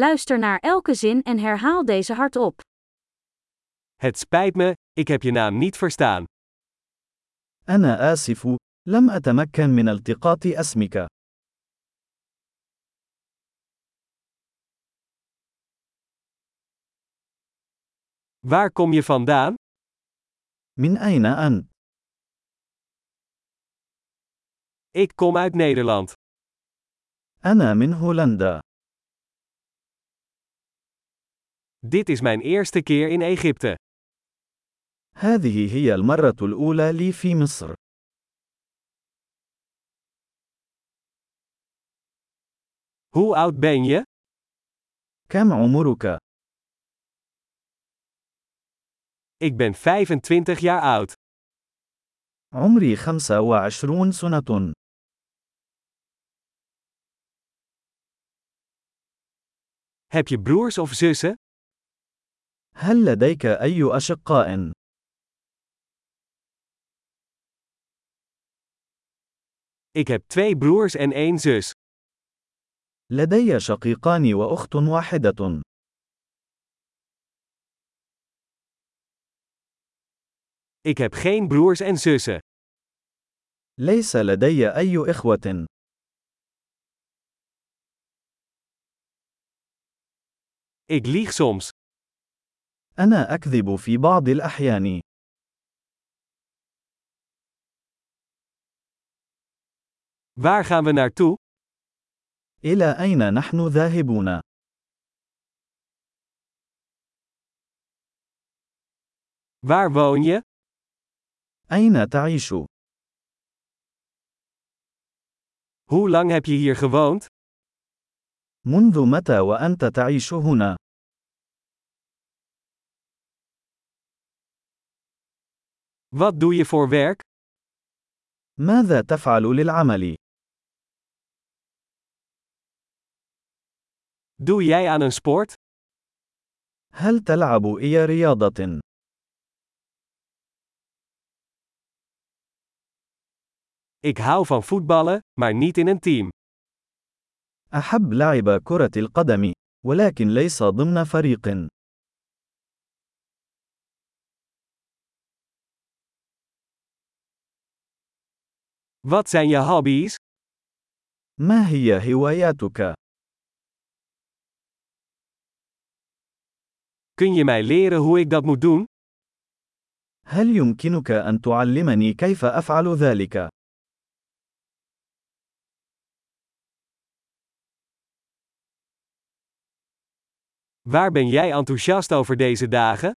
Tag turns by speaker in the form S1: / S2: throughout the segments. S1: Luister naar elke zin en herhaal deze hardop.
S2: Het spijt me, ik heb je naam niet verstaan.
S3: أنا آسف، لم أتمكن من التقاط اسمك.
S2: Waar kom je vandaan?
S3: من أين أنت؟
S2: Ik kom uit Nederland.
S3: أنا من هولندا.
S2: Dit is mijn eerste keer in Egypte.
S3: هذه هي المرة الأولى لي في مصر.
S2: Hoe oud ben je?
S3: كم عمرك؟
S2: Ik ben 25 jaar oud.
S3: عمري 25 سنة.
S2: Heb je broers of zussen?
S3: هل لديك أي أشقاء؟
S2: Ik heb twee broers en één zus.
S3: لدي شقيقان وأخت واحدة.
S2: Ik heb geen broers en zussen.
S3: ليس لدي أي إخوة.
S2: Ik lieg soms.
S3: أنا أكذب في بعض الأحيان.
S2: Waar gaan we naartoe?
S3: إلى أين نحن ذاهبون؟
S2: Waar woon je?
S3: أين تعيش؟
S2: Hoe lang heb je hier gewoond?
S3: منذ متى وأنت تعيش هنا؟
S2: Wat doe je voor werk?
S3: ماذا تفعل للعمل؟
S2: Doe jij aan een sport?
S3: هل تلعب أي رياضة؟
S2: Ik hou van voetballen, maar niet in een team.
S3: أحب لعب كرة القدم، ولكن ليس ضمن فريق.
S2: Wat zijn je hobby's?
S3: ما هي هواياتك؟
S2: Kun je mij leren hoe ik dat moet doen?
S3: هل يمكنك أن تعلمني كيف أفعل ذلك؟
S2: Waar ben jij enthousiast over deze dagen?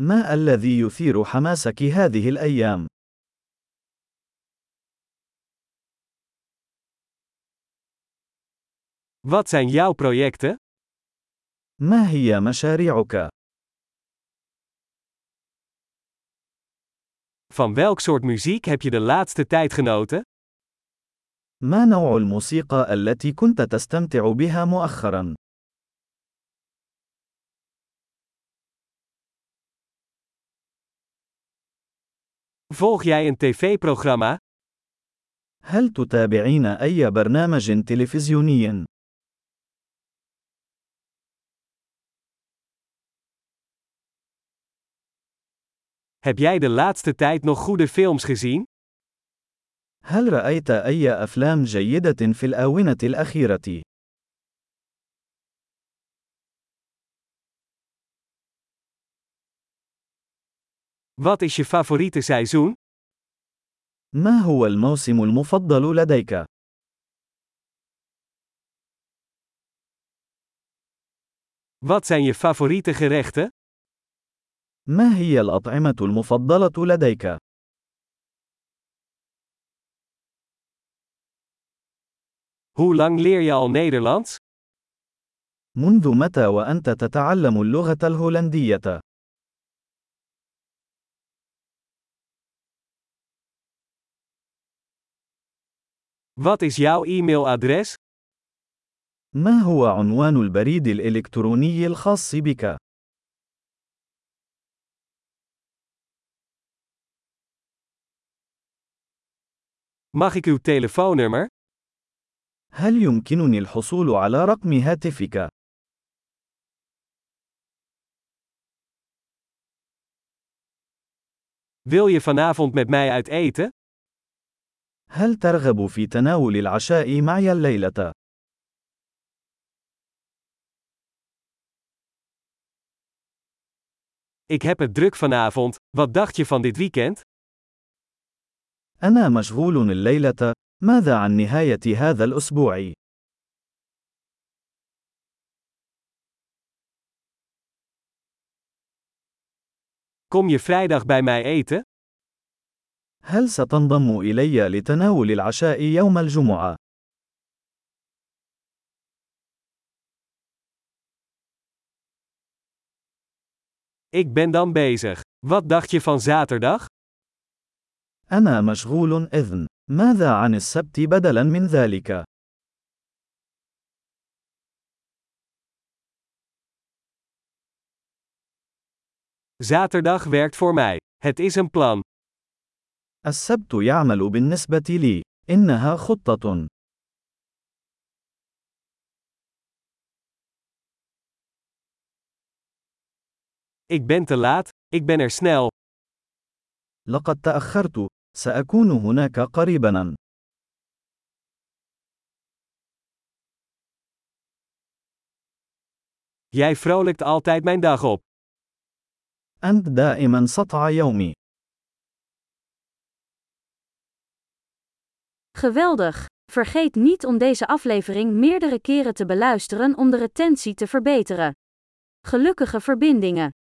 S3: ما الذي يثير حماسك هذه الأيام؟
S2: Wat zijn jouw projecten?
S3: ما هي مشاريعك؟
S2: Van welk soort muziek heb je de laatste tijd genoten?
S3: ما نوع الموسيقى التي كنت تستمتع بها مؤخرا؟
S2: Volg jij een tv-programma?
S3: هل تتابعين أي برنامج تلفزيوني؟
S2: Heb jij de laatste tijd nog goede films gezien?
S3: هل رأيت أي أفلام جيدة في الآونة الأخيرة؟
S2: Wat is je favoriete seizoen?
S3: ما هو الموسم المفضل لديك؟
S2: Wat zijn je favoriete gerechten?
S3: ما هي الأطعمة المفضلة لديك؟
S2: Hoe lang leer je al Nederlands?
S3: منذ متى وأنت تتعلم اللغة الهولندية؟
S2: Wat is jouw e-mailadres?
S3: ما هو عنوان البريد الإلكتروني الخاص بك؟
S2: Mag ik uw telefoonnummer?
S3: هل يمكنني الحصول على رقم هاتفك؟
S2: Wil je vanavond met mij uit eten?
S3: هل ترغب في تناول العشاء معي الليلة؟
S2: Ik heb het druk vanavond. Wat dacht je van dit weekend?
S3: أنا مشغول الليلة. ماذا عن نهاية هذا الأسبوع؟
S2: Kom je vrijdag bij mij eten?
S3: هل ستنضم إلي لتناول العشاء يوم الجمعة؟
S2: Ik ben dan bezig. Wat dacht je van zaterdag?
S3: أنا مشغول إذن. ماذا عن السبت بدلاً من ذلك؟
S2: Zaterdag werkt voor mij. Het is een plan.
S3: السبت يعمل بالنسبة لي. إنها خطة.
S2: Ik ben te laat, ik ben er snel.
S3: لقد تأخرت. سأكون هناك قريباً.
S2: Jij vrolijkt altijd mijn dag op.
S3: أنت دائماً سطع يومي.
S1: Geweldig! Vergeet niet om deze aflevering meerdere keren te beluisteren om de retentie te verbeteren. Gelukkige verbindingen!